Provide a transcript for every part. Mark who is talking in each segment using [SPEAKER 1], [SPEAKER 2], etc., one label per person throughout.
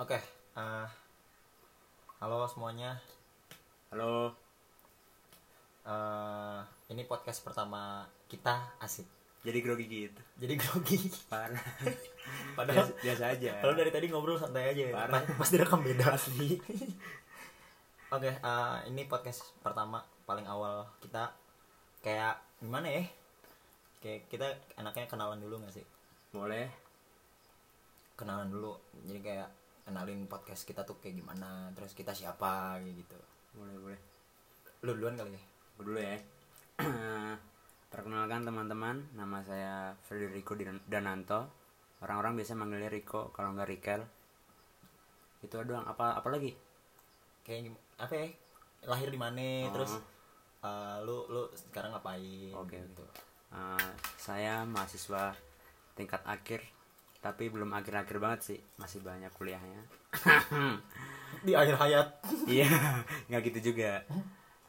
[SPEAKER 1] Oke. ah, halo semuanya.
[SPEAKER 2] Halo,
[SPEAKER 1] Eh, ini podcast pertama kita asik.
[SPEAKER 2] jadi grogi gitu.
[SPEAKER 1] Jadi grogi.
[SPEAKER 2] Parah.
[SPEAKER 1] Padahal
[SPEAKER 2] biasa, biasa aja.
[SPEAKER 1] Padahal dari tadi ngobrol santai aja. ya.
[SPEAKER 2] Ya. Parah.
[SPEAKER 1] Pas- Pas direkam beda asli. Oke, eh, ini podcast pertama paling awal kita kayak gimana ya? Kayak kita enaknya kenalan dulu gak sih?
[SPEAKER 2] Boleh.
[SPEAKER 1] Kenalan dulu. Jadi kayak kenalin podcast kita tuh kayak gimana, terus kita siapa kayak gitu.
[SPEAKER 2] Boleh, boleh.
[SPEAKER 1] Lu duluan kali ya.
[SPEAKER 2] Gua dulu ya. Perkenalkan teman-teman, nama saya Federico Dan- Dananto. Orang-orang biasa manggilnya Rico, kalau nggak Rikel. Itu doang. Apa apa lagi?
[SPEAKER 1] kayak gim- apa ya lahir di mana
[SPEAKER 2] Oh.
[SPEAKER 1] terus eh, lu lu sekarang ngapain
[SPEAKER 2] Oke,
[SPEAKER 1] gitu.
[SPEAKER 2] Eh, saya mahasiswa tingkat akhir, tapi belum akhir-akhir banget sih. Masih banyak kuliahnya.
[SPEAKER 1] di akhir hayat
[SPEAKER 2] Iya, nggak gitu juga.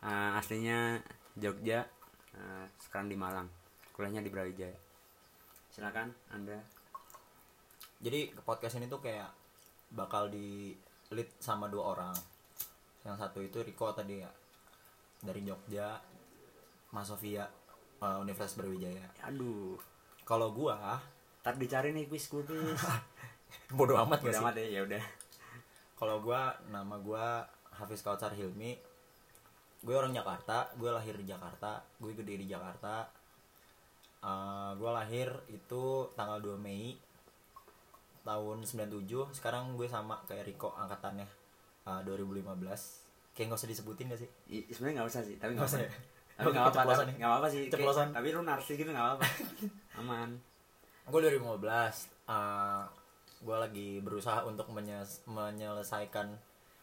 [SPEAKER 2] Eh, aslinya Jogja, eh, sekarang di Malang. Kuliahnya di Brawijaya. Silakan Anda.
[SPEAKER 1] jadi podcast ini tuh kayak bakal di lead sama dua orang yang satu itu Riko tadi ya dari Jogja Mas Sofia eh, Universitas Brawijaya
[SPEAKER 2] Aduh,
[SPEAKER 1] kalau gua
[SPEAKER 2] tar dicari nih kuis gue kuis.
[SPEAKER 1] bodoh amat gak
[SPEAKER 2] Udah
[SPEAKER 1] sih
[SPEAKER 2] amat ya, ya udah.
[SPEAKER 1] kalau gua nama gua Hafiz Kautsar Hilmi gue orang Jakarta gue lahir di Jakarta gue gede di Jakarta Eh gue lahir itu tanggal 2 Mei tahun 97 sekarang gue sama kayak Riko angkatannya eh, 2015 kayak nggak usah disebutin gak sih
[SPEAKER 2] I- Sebenarnya nggak usah sih, tapi nggak
[SPEAKER 1] Nggak usah
[SPEAKER 2] usah.
[SPEAKER 1] ya?
[SPEAKER 2] Tapi nggak apa-apa,
[SPEAKER 1] Keceplosan
[SPEAKER 2] tapi
[SPEAKER 1] ya?
[SPEAKER 2] nggak apa-apa sih. Kayak-
[SPEAKER 1] Keceplosan.
[SPEAKER 2] Tapi lu narsis gitu nggak apa-apa. Aman.
[SPEAKER 1] gue 2015 eh gue lagi berusaha untuk menyes- menyelesaikan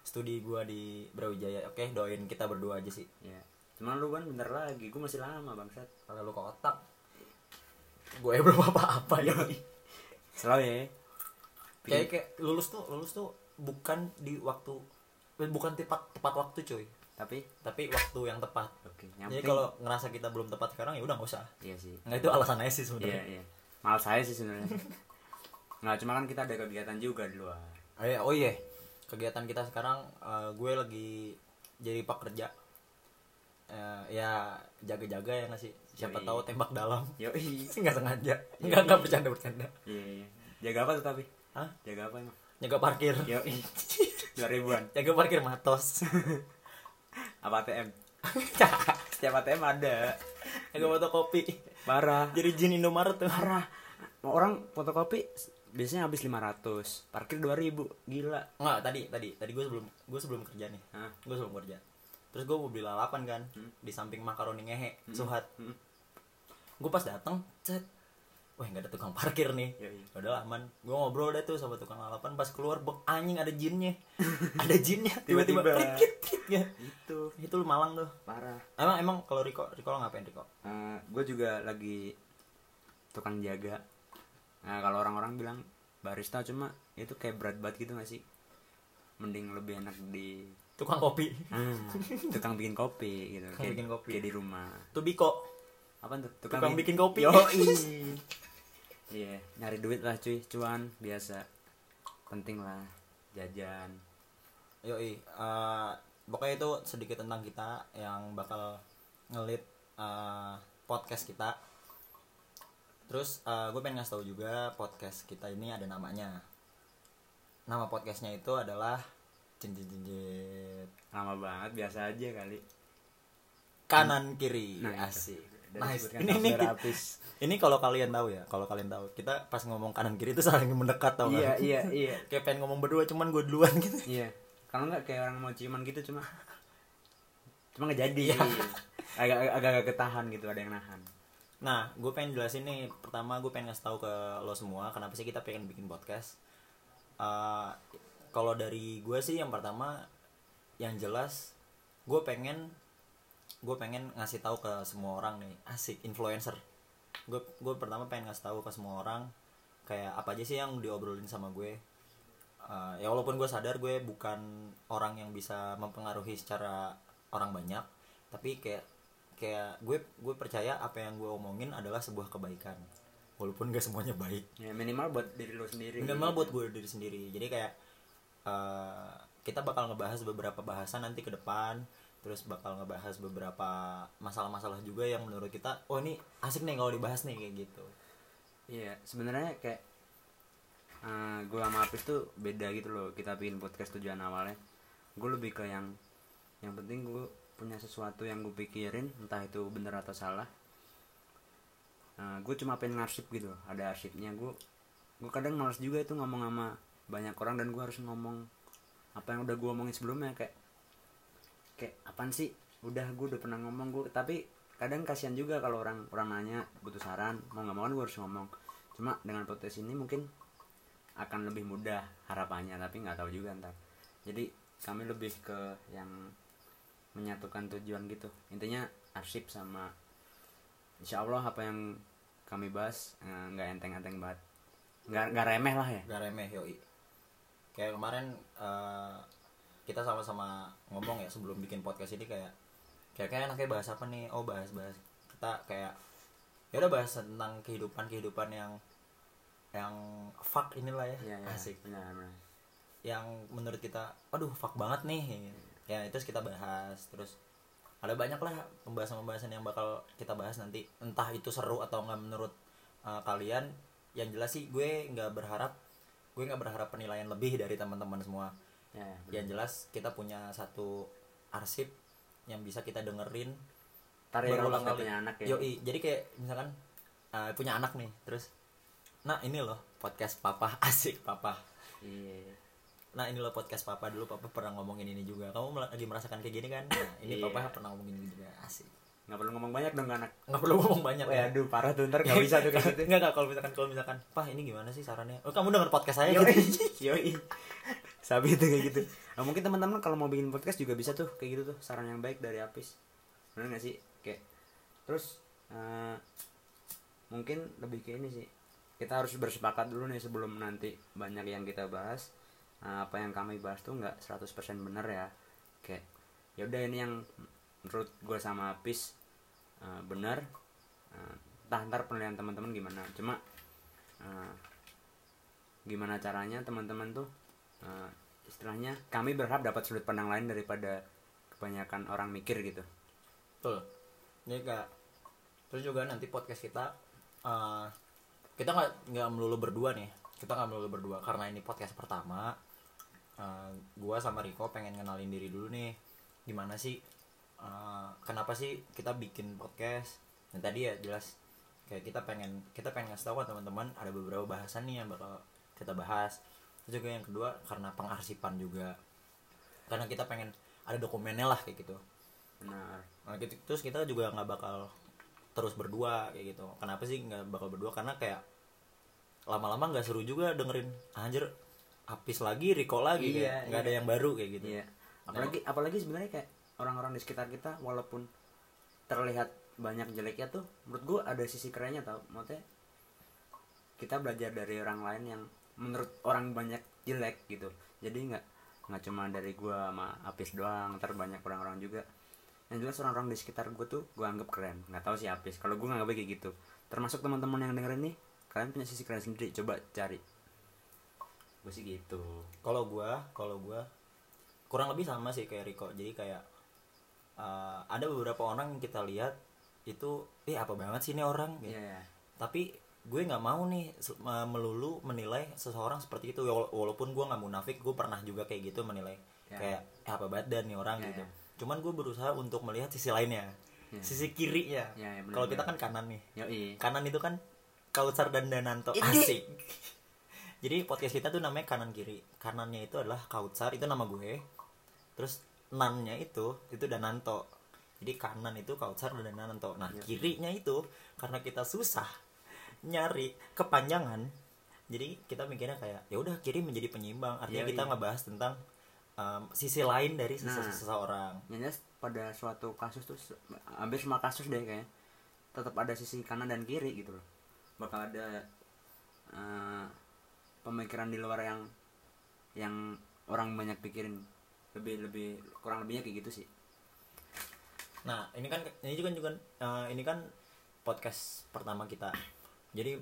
[SPEAKER 1] studi gue di Brawijaya oke doain kita berdua aja sih
[SPEAKER 2] Ya. Cuman lu kan bentar lagi, gue masih lama bangsat.
[SPEAKER 1] Kalau lu kotak Gue belum apa-apa ya
[SPEAKER 2] Selalu ya.
[SPEAKER 1] Kayak kayak lulus tuh Lulus tuh bukan di waktu Bukan tepat, tepat waktu cuy
[SPEAKER 2] Tapi
[SPEAKER 1] Tapi waktu yang tepat
[SPEAKER 2] oke, yang
[SPEAKER 1] Jadi
[SPEAKER 2] penting-
[SPEAKER 1] kalau ngerasa kita belum tepat sekarang ya udah nggak usah
[SPEAKER 2] iya sih.
[SPEAKER 1] Nggak itu alasan aja sih
[SPEAKER 2] Iya,
[SPEAKER 1] sebenarnya
[SPEAKER 2] iya. Malah saya sih sebenarnya. Nggak, cuma kan kita ada kegiatan juga di luar.
[SPEAKER 1] Oh iya, oh iya. Kegiatan kita sekarang eh, gue lagi jadi pekerja Eh, ya jaga-jaga ya nggak sih siapa
[SPEAKER 2] Yoi.
[SPEAKER 1] tahu tembak dalam
[SPEAKER 2] Yoi.
[SPEAKER 1] sih nggak sengaja nggak nggak bercanda bercanda
[SPEAKER 2] Iya, iya. Jaga apa tuh tapi?
[SPEAKER 1] Hah?
[SPEAKER 2] Jaga apa emang?
[SPEAKER 1] jaga parkir
[SPEAKER 2] Yoi. Dua ribuan.
[SPEAKER 1] jaga parkir matos
[SPEAKER 2] Apa ATM? Setiap ATM ada.
[SPEAKER 1] Agak foto kopi.
[SPEAKER 2] Parah.
[SPEAKER 1] Jadi jin Indomaret tuh.
[SPEAKER 2] Parah. Orang fotokopi biasanya habis 500, parkir 2000. Gila.
[SPEAKER 1] Enggak, tadi tadi tadi gue sebelum gue sebelum kerja nih.
[SPEAKER 2] Hah?
[SPEAKER 1] Gue sebelum kerja. Terus gue mau beli lalapan kan di samping makaroni ngehe Suhat.
[SPEAKER 2] Hmm.
[SPEAKER 1] Gue pas dateng, cet. Wah, nggak ada tukang parkir nih.
[SPEAKER 2] Ya, iya.
[SPEAKER 1] Udah aman. Gue ngobrol deh tuh sama tukang lalapan pas keluar bek anjing ada jinnya. ada jinnya tiba-tiba prit,
[SPEAKER 2] Tiba-tiba.
[SPEAKER 1] prit, prit, ya.
[SPEAKER 2] Itu
[SPEAKER 1] Itu lu Malang tuh.
[SPEAKER 2] Gitu. parah.
[SPEAKER 1] Emang emang kalau Riko, Riko lo ngapain Riko?
[SPEAKER 2] gue Eh, juga lagi tukang jaga. Nah, kalau orang-orang bilang barista cuma itu kayak berat banget gitu gak sih? Mending lebih enak di
[SPEAKER 1] Tukang kopi.
[SPEAKER 2] Ah, tukang bikin kopi gitu.
[SPEAKER 1] Hmm. Tukang bikin kopi.
[SPEAKER 2] kayak di rumah.
[SPEAKER 1] Tuh Biko.
[SPEAKER 2] Apa tuh?
[SPEAKER 1] Tukang bikin kopi.
[SPEAKER 2] Yoi. Iya, nyari duit lah cuy, cuan biasa. Penting lah jajan.
[SPEAKER 1] Yoi, eh pokoknya itu sedikit tentang kita yang bakal ngelit eh, podcast kita. Terus eh, gue pengen ngasih tahu juga podcast kita ini ada namanya. Nama podcastnya itu adalah Jenjenjenjet
[SPEAKER 2] Lama banget biasa aja kali.
[SPEAKER 1] kanan kiri
[SPEAKER 2] Nah, itu.
[SPEAKER 1] asik.
[SPEAKER 2] Udah
[SPEAKER 1] Nice.
[SPEAKER 2] disebutkan
[SPEAKER 1] Ini ini,
[SPEAKER 2] hampir
[SPEAKER 1] ki-
[SPEAKER 2] habis.
[SPEAKER 1] ini kalau kalian tahu ya, kalau kalian tahu kita pas ngomong kanan kiri itu saling mendekat tau nggak?
[SPEAKER 2] Iya, iya, iya.
[SPEAKER 1] Kayak pengen ngomong berdua cuman gue duluan gitu.
[SPEAKER 2] Iya. Kalau nggak kayak orang mau ciuman gitu cuma cuma nggak jadi. Agak agak agak ketahan gitu ada yang nahan.
[SPEAKER 1] Nah, gue pengen jelasin nih. Pertama, gue pengen ngasih tahu ke lo semua kenapa sih kita pengen bikin podcast. Eh, Kalau dari gue sih, yang pertama, yang jelas, gue pengen, gue pengen ngasih tahu ke semua orang nih, asik influencer. Gue, gue pertama pengen ngasih tahu ke semua orang kayak apa aja sih yang diobrolin sama gue. Eh, ya walaupun gue sadar gue bukan orang yang bisa mempengaruhi secara orang banyak, tapi kayak kayak gue gue percaya apa yang gue omongin adalah sebuah kebaikan walaupun gak semuanya baik
[SPEAKER 2] Ya minimal buat diri lu sendiri.
[SPEAKER 1] minimal buat gue diri sendiri jadi kayak eh, kita bakal ngebahas beberapa bahasan nanti ke depan terus bakal ngebahas beberapa masalah-masalah juga yang menurut kita oh ini asik nih kalau dibahas nih kayak gitu
[SPEAKER 2] Iya, sebenarnya kayak eh gue sama Apis tuh beda gitu loh. Kita bikin podcast tujuan awalnya. Gue lebih ke yang yang penting gue punya sesuatu yang gue pikirin, entah itu bener atau salah. gue cuma pengen ngarsip gitu, loh. ada arsipnya. Gue gue kadang males juga itu ngomong sama banyak orang dan gue harus ngomong apa yang udah gue omongin sebelumnya kayak kayak apaan sih udah gue udah pernah ngomong gue tapi kadang kasihan juga kalau orang orang nanya butuh saran mau nggak mau kan gue harus ngomong cuma dengan podcast ini mungkin akan lebih mudah harapannya tapi nggak tahu juga ntar jadi kami lebih ke yang menyatukan tujuan gitu intinya arsip sama insya Allah apa yang kami bahas eh, nggak enteng-enteng banget nggak nggak remeh lah ya
[SPEAKER 1] gak remeh yoi kayak kemarin eh, kita sama-sama ngomong ya sebelum bikin podcast ini kayak kayak kayak enaknya bahas apa nih oh bahas bahas kita kayak ya udah bahas tentang kehidupan kehidupan yang yang fuck inilah ya, asik
[SPEAKER 2] Iya, benar benar
[SPEAKER 1] yang menurut kita aduh fuck banget nih ya terus kita bahas terus ada banyak lah pembahasan-pembahasan yang bakal kita bahas nanti entah itu seru atau enggak menurut uh, kalian yang jelas sih gue nggak berharap gue nggak berharap penilaian lebih dari teman-teman semua
[SPEAKER 2] ya, ya, benar.
[SPEAKER 1] yang jelas kita punya satu arsip yang bisa kita dengerin
[SPEAKER 2] Ntar ya kalau
[SPEAKER 1] berulang
[SPEAKER 2] kita
[SPEAKER 1] kali.
[SPEAKER 2] punya anak ya
[SPEAKER 1] Yoi, jadi kayak misalkan uh, punya anak nih terus nah ini loh podcast papa asik papa
[SPEAKER 2] Iya.
[SPEAKER 1] nah ini loh podcast papa dulu papa pernah ngomongin ini juga kamu mel- lagi merasakan kayak gini kan nah, ini
[SPEAKER 2] Iya.
[SPEAKER 1] papa pernah ngomongin ini juga asik
[SPEAKER 2] nggak perlu ngomong banyak dong ke anak
[SPEAKER 1] nggak perlu ngomong banyak ya.
[SPEAKER 2] Wah, aduh parah tuh ntar nggak bisa tuh kayak gitu
[SPEAKER 1] nggak nggak, kalau misalkan kalau misalkan pah ini gimana sih sarannya oh kamu denger podcast saya
[SPEAKER 2] yoi
[SPEAKER 1] gitu
[SPEAKER 2] yoi sabi itu kayak gitu nah, mungkin teman-teman kalau mau bikin podcast juga bisa tuh kayak gitu tuh saran yang baik dari Apis benar nggak sih kayak terus eh, mungkin lebih ke ini sih kita harus bersepakat dulu nih sebelum nanti banyak yang kita bahas Nah, apa yang kami bahas tuh nggak 100% bener ya kayak yaudah ini yang menurut gue sama Apis eh, bener Eh, entah ntar penilaian teman-teman gimana cuma eh, gimana caranya teman-teman tuh eh, istilahnya kami berharap dapat sudut pandang lain daripada kebanyakan orang mikir gitu
[SPEAKER 1] Betul. Jadi kayak terus juga nanti podcast kita eh, kita nggak nggak melulu berdua nih. Kita nggak melulu berdua karena ini podcast pertama. eh, gua sama Riko pengen kenalin diri dulu nih. Gimana sih? eh, kenapa sih kita bikin podcast? Dan tadi ya jelas kayak kita pengen kita pengen ngasih tahu ke teman-teman ada beberapa bahasan nih yang bakal kita bahas. Terus juga yang kedua karena pengarsipan juga. Karena kita pengen ada dokumennya lah kayak gitu.
[SPEAKER 2] benar
[SPEAKER 1] Nah, gitu- terus kita juga nggak bakal terus berdua kayak gitu. Kenapa sih nggak bakal berdua? Karena kayak lama-lama nggak seru juga dengerin anjir habis lagi Riko lagi
[SPEAKER 2] Iya,
[SPEAKER 1] kayak. nggak ada
[SPEAKER 2] iya.
[SPEAKER 1] yang baru kayak gitu.
[SPEAKER 2] Iya. apalagi apalagi sebenarnya kayak orang-orang di sekitar kita walaupun terlihat banyak jeleknya tuh menurut gua ada sisi kerennya tau maksudnya kita belajar dari orang lain yang menurut orang banyak jelek gitu jadi nggak nggak cuma dari gua sama Apis doang ntar banyak orang-orang juga yang jelas orang-orang di sekitar gua tuh gua anggap keren nggak tahu sih Apis kalau gua nggak kayak gitu termasuk teman-teman yang dengerin nih kalian punya sisi keren sendiri coba cari gue sih gitu
[SPEAKER 1] Kalau gua, kalau gua kurang lebih sama sih kayak Riko. Jadi kayak eh, ada beberapa orang yang kita lihat itu, eh apa banget sih ini orang? gitu.
[SPEAKER 2] Iya.
[SPEAKER 1] tapi gue nggak mau nih se- me- melulu menilai seseorang seperti itu Ya, wala- walaupun gue nggak munafik gue pernah juga kayak gitu menilai
[SPEAKER 2] Ya.
[SPEAKER 1] kayak "Eh, apa banget dan nih orang
[SPEAKER 2] Ya,
[SPEAKER 1] gitu
[SPEAKER 2] ya.
[SPEAKER 1] cuman gue berusaha untuk melihat sisi lainnya
[SPEAKER 2] Ya.
[SPEAKER 1] sisi kirinya
[SPEAKER 2] Ya, ya, benar,
[SPEAKER 1] kalau kita kan
[SPEAKER 2] benar.
[SPEAKER 1] kanan nih
[SPEAKER 2] Iya. Yoi.
[SPEAKER 1] kanan itu kan Kautsar dan Dananto asik jadi podcast kita tuh namanya kanan kiri kanannya itu adalah Kautsar itu nama gue terus nannya itu itu Dananto jadi kanan itu Kautsar dan Dananto nah kirinya itu karena kita susah nyari kepanjangan jadi kita mikirnya kayak ya udah kiri menjadi penyeimbang artinya
[SPEAKER 2] Yoi.
[SPEAKER 1] kita ngebahas tentang um, sisi lain dari sese-
[SPEAKER 2] Nah.
[SPEAKER 1] seseorang
[SPEAKER 2] Yang jelas pada suatu kasus tuh se- hampir semua kasus deh kayaknya tetap ada sisi kanan dan kiri gitu loh. Bakal ada eh, pemikiran di luar yang yang orang banyak pikirin lebih lebih kurang lebihnya kayak gitu sih.
[SPEAKER 1] Nah, ini kan ini juga juga eh, ini kan podcast pertama kita. Jadi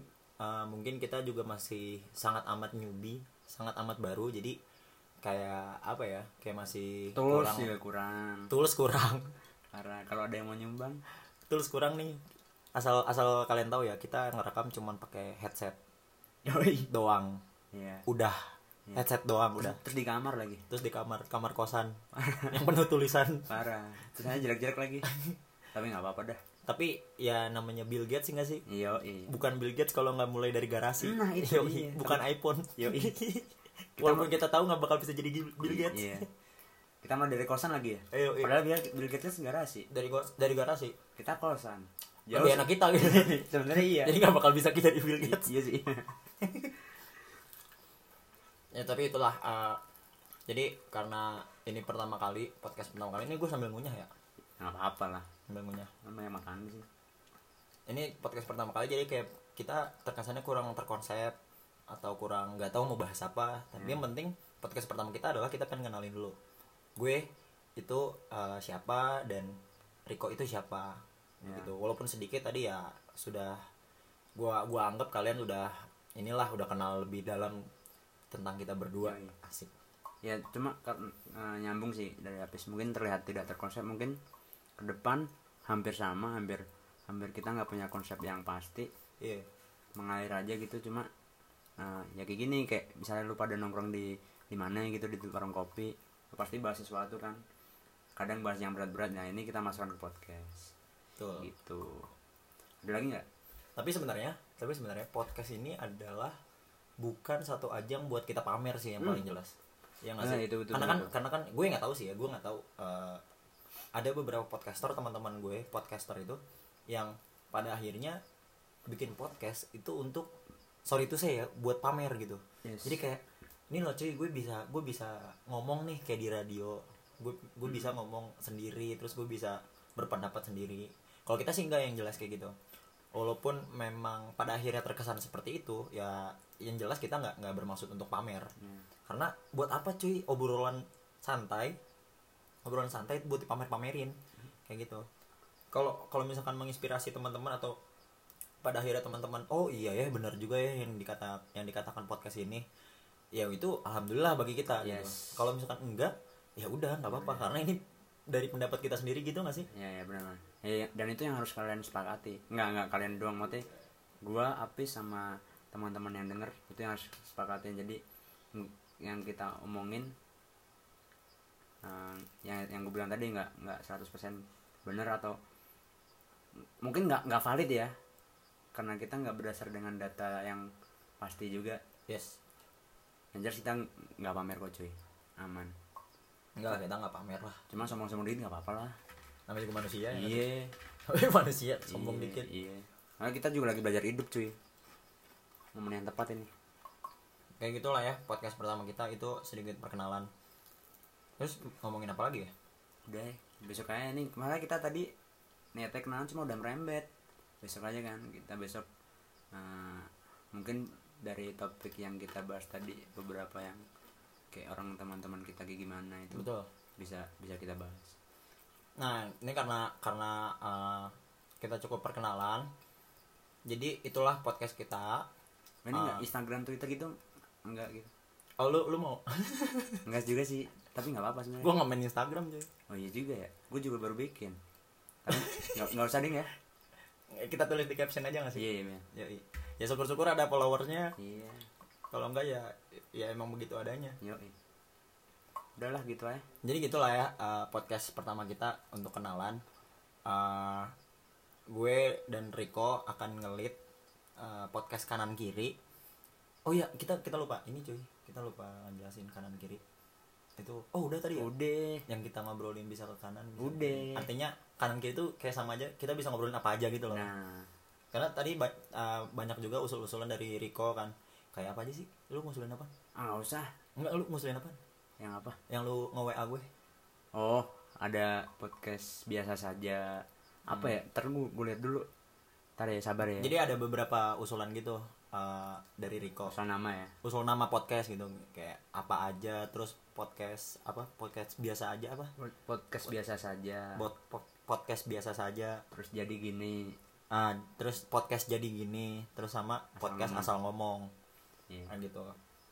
[SPEAKER 1] eh, mungkin kita juga masih sangat amat newbie, sangat amat baru. Jadi kayak apa ya kayak masih
[SPEAKER 2] Tools
[SPEAKER 1] kurang
[SPEAKER 2] juga kurang.
[SPEAKER 1] tools kurang
[SPEAKER 2] Karena kalau ada yang mau nyumbang,
[SPEAKER 1] tools kurang nih asal asal kalian tahu ya kita ngerekam cuman pakai headset
[SPEAKER 2] yoi.
[SPEAKER 1] doang
[SPEAKER 2] Iya.
[SPEAKER 1] udah
[SPEAKER 2] Iya.
[SPEAKER 1] headset doang udah
[SPEAKER 2] Terus, terus di kamar lagi.
[SPEAKER 1] terus di kamar kamar kosan yang penuh tulisan
[SPEAKER 2] Parah. Terus aja jelek-jelek lagi. Tapi nggak apa-apa dah.
[SPEAKER 1] tapi ya namanya Bill Gates nggak sih
[SPEAKER 2] Yo,
[SPEAKER 1] bukan Bill Gates kalau nggak mulai dari garasi
[SPEAKER 2] Nah, itu
[SPEAKER 1] Yoi.
[SPEAKER 2] dia.
[SPEAKER 1] bukan iPhone
[SPEAKER 2] Yoi.
[SPEAKER 1] walaupun kita tahu nggak bakal bisa jadi Gil- Bill Gates
[SPEAKER 2] Iya. Kita mau dari kosan lagi ya.
[SPEAKER 1] Ayo, iya.
[SPEAKER 2] Padahal biar Bill Gates nggak sih.
[SPEAKER 1] dari go- dari garasi
[SPEAKER 2] Kita kosan.
[SPEAKER 1] lebih enak kita gitu
[SPEAKER 2] Sebenarnya iya.
[SPEAKER 1] jadi nggak bakal bisa kita di Bill
[SPEAKER 2] Iya
[SPEAKER 1] Gates
[SPEAKER 2] iya sih.
[SPEAKER 1] ya tapi itulah eh, jadi karena ini pertama kali podcast pertama kali ini gue sambil ngunyah ya
[SPEAKER 2] Nggak apa-apa lah.
[SPEAKER 1] sambil ngunyah
[SPEAKER 2] Namanya makan sih.
[SPEAKER 1] ini podcast pertama kali jadi kayak kita terkesannya kurang terkonsep atau kurang nggak tahu mau bahas apa tapi yang penting podcast pertama kita adalah kita pengen kenalin dulu gue itu eh, siapa dan Riko itu siapa gitu walaupun sedikit tadi ya sudah gua gua anggap kalian udah inilah udah kenal lebih dalam tentang kita berdua
[SPEAKER 2] Yoi.
[SPEAKER 1] asik
[SPEAKER 2] ya cuma kar- eh, nyambung sih dari habis mungkin terlihat tidak terkonsep mungkin ke depan hampir sama hampir hampir kita nggak punya konsep yang pasti
[SPEAKER 1] iya
[SPEAKER 2] mengalir aja gitu cuma eh, ya kayak gini kayak misalnya lu pada nongkrong di di mana gitu di warung kopi lu pasti bahas sesuatu kan kadang bahas yang berat-berat nah ini kita masukkan ke podcast
[SPEAKER 1] betul
[SPEAKER 2] gitu ada lagi nggak
[SPEAKER 1] tapi sebenarnya tapi sebenarnya podcast ini adalah bukan satu ajang buat kita pamer sih yang paling jelas ya nggak
[SPEAKER 2] Hmm. Nah,
[SPEAKER 1] sih
[SPEAKER 2] itu- itu
[SPEAKER 1] karena kan
[SPEAKER 2] benar.
[SPEAKER 1] karena kan gue nggak tahu sih ya gue nggak tahu eh, ada beberapa podcaster teman-teman gue podcaster itu yang pada akhirnya bikin podcast itu untuk sorry itu saya ya buat pamer gitu
[SPEAKER 2] Yes.
[SPEAKER 1] jadi kayak ini loh cuy gue bisa gue bisa ngomong nih kayak di radio gue gue bisa ngomong sendiri terus gue bisa berpendapat sendiri kalau kita sih nggak yang jelas kayak gitu walaupun memang pada akhirnya terkesan seperti itu ya yang jelas kita nggak nggak bermaksud untuk pamer karena buat apa cuy obrolan santai obrolan santai buat dipamer-pamerin kayak gitu kalau kalau misalkan menginspirasi teman-teman atau pada akhirnya teman-teman oh iya ya benar juga ya yang dikata yang dikatakan podcast ini ya itu alhamdulillah bagi kita gitu
[SPEAKER 2] Yes.
[SPEAKER 1] kalau misalkan enggak ya udah nggak apa-apa karena ini dari pendapat kita sendiri gitu nggak sih
[SPEAKER 2] Ya ya benar. Mas. Ya, ya, dan itu yang harus kalian sepakati. Enggak enggak kalian doang mati. Gua Apis sama teman-teman yang denger itu yang harus sepakatin. Jadi ng- yang kita omongin eh, yang yang gue bilang tadi enggak enggak 100% bener atau m- mungkin enggak enggak valid ya. Karena kita enggak berdasar dengan data yang pasti juga.
[SPEAKER 1] yes
[SPEAKER 2] Yang jelas kita enggak pamer kok cuy. Aman.
[SPEAKER 1] enggak kita nggak pamer lah
[SPEAKER 2] Cuma sombong-sombong dikit enggak apa-apa lah.
[SPEAKER 1] namanya juga manusia ya nggak sih?
[SPEAKER 2] Iya.
[SPEAKER 1] namanya manusia sombong
[SPEAKER 2] Iya,
[SPEAKER 1] dikit
[SPEAKER 2] Iya. Karena kita juga lagi belajar hidup cuy. Momen yang tepat ini.
[SPEAKER 1] kayak gitulah ya podcast pertama kita itu sedikit perkenalan terus ngomongin apa lagi ya
[SPEAKER 2] Udah ya, besok aja nih. Kemarin kita tadi niatnya kenalan cuma udah merembet. Besok aja kan kita besok eh, mungkin dari topik yang kita bahas tadi beberapa yang kayak orang teman-teman kita kayak gimana itu
[SPEAKER 1] betul
[SPEAKER 2] bisa bisa kita bahas.
[SPEAKER 1] Nah, ini karena karena eh, kita cukup perkenalan. Jadi itulah podcast kita.
[SPEAKER 2] Ini enggak Instagram Twitter gitu enggak gitu.
[SPEAKER 1] Oh, lu lu mau?
[SPEAKER 2] Enggak juga sih, tapi enggak apa-apa sebenarnya.
[SPEAKER 1] gua nggak main Instagram, cuy.
[SPEAKER 2] Oh iya juga ya. Gue juga baru bikin. Tapi nggak- nggak usah ding ya.
[SPEAKER 1] Kita tulis di caption aja nggak sih?
[SPEAKER 2] Iya iya. Mia.
[SPEAKER 1] Yoi. Ya syukur-syukur ada followersnya.
[SPEAKER 2] Iya.
[SPEAKER 1] Kalau enggak ya ya emang begitu adanya.
[SPEAKER 2] Yo. Udahlah gitu aja.
[SPEAKER 1] Jadi gitulah ya eh, podcast pertama kita untuk kenalan. Eh, gue dan Riko akan ngelit eh, podcast kanan kiri. Oh iya kita kita lupa ini cuy kita lupa jelasin kanan kiri itu oh udah tadi ya
[SPEAKER 2] Udah.
[SPEAKER 1] yang kita ngobrolin bisa ke kanan bisa ke
[SPEAKER 2] Udah.
[SPEAKER 1] kiri. artinya kanan kiri itu kayak sama aja kita bisa ngobrolin apa aja gitu loh
[SPEAKER 2] Nah,
[SPEAKER 1] karena tadi ba- eh, banyak juga usul-usulan dari Riko kan kayak apa aja sih lu ngusulin apa
[SPEAKER 2] ah nggak usah.
[SPEAKER 1] enggak lu ngusulin apa
[SPEAKER 2] Yang apa?
[SPEAKER 1] yang lu nge WA gue
[SPEAKER 2] Oh, ada podcast biasa saja. Apa ya? Ntar gue, gue lihat dulu. Ntar ya sabar ya.
[SPEAKER 1] Jadi ada beberapa usulan gitu uh, dari Riko.
[SPEAKER 2] soal nama ya.
[SPEAKER 1] Usul nama podcast gitu kayak apa aja terus podcast apa podcast biasa aja apa?
[SPEAKER 2] Podcast biasa saja.
[SPEAKER 1] Bot po- podcast biasa saja.
[SPEAKER 2] Terus jadi gini.
[SPEAKER 1] Ah, terus podcast jadi gini, terus sama podcast asal ngomong.
[SPEAKER 2] Iya.
[SPEAKER 1] Kan gitu.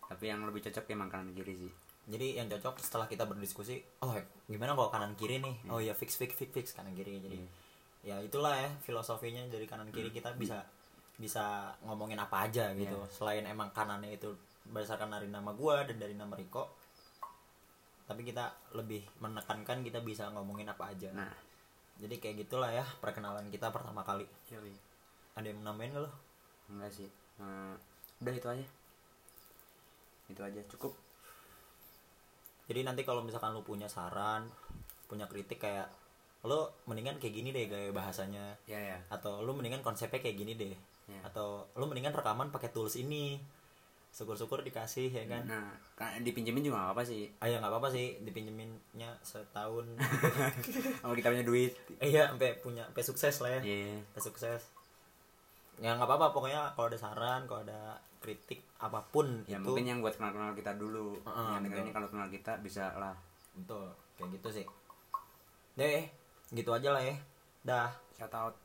[SPEAKER 2] Tapi yang lebih cocok ya makanan kiri sih.
[SPEAKER 1] jadi yang cocok setelah kita berdiskusi oh gimana kalau kanan kiri nih oh ya fix fix fix fix kanan kiri jadi ya itulah ya filosofinya dari kanan kiri kita bisa bisa ngomongin apa aja gitu
[SPEAKER 2] Iya.
[SPEAKER 1] selain emang kanannya itu berdasarkan dari nama gua dan dari nama Riko tapi kita lebih menekankan kita bisa ngomongin apa aja
[SPEAKER 2] Nah,
[SPEAKER 1] jadi kayak gitulah ya perkenalan kita pertama kali
[SPEAKER 2] yoi.
[SPEAKER 1] ada yang nambahin nggak lo
[SPEAKER 2] Enggak sih. Eh, udah itu aja. Itu aja cukup.
[SPEAKER 1] Jadi nanti kalau misalkan lu punya saran, punya kritik kayak lu mendingan kayak gini deh gaya bahasanya
[SPEAKER 2] Ya ya.
[SPEAKER 1] atau lu mendingan konsepnya kayak gini deh
[SPEAKER 2] Ya.
[SPEAKER 1] atau lu mendingan rekaman pakai tools ini. Syukur-syukur dikasih ya kan.
[SPEAKER 2] Nah, kan dipinjemin juga gak apa sih.
[SPEAKER 1] Ah ya nggak apa-apa sih dipinjeminnya setahun.
[SPEAKER 2] Kalau kita punya duit.
[SPEAKER 1] Eh, Iya, sampai punya sampai sukses lah ya.
[SPEAKER 2] Iya.
[SPEAKER 1] Sampai sukses. Ya nggak apa-apa pokoknya kalau ada saran, kalau ada kritik apapun
[SPEAKER 2] Ya
[SPEAKER 1] itu
[SPEAKER 2] mungkin yang buat kenal-kenal kita dulu.
[SPEAKER 1] Heeh,
[SPEAKER 2] yang dengerin
[SPEAKER 1] betul.
[SPEAKER 2] ini kalau kenal kita bisa lah.
[SPEAKER 1] betul kayak gitu sih. Deh, gitu aja lah ya. Dah.
[SPEAKER 2] Shout out.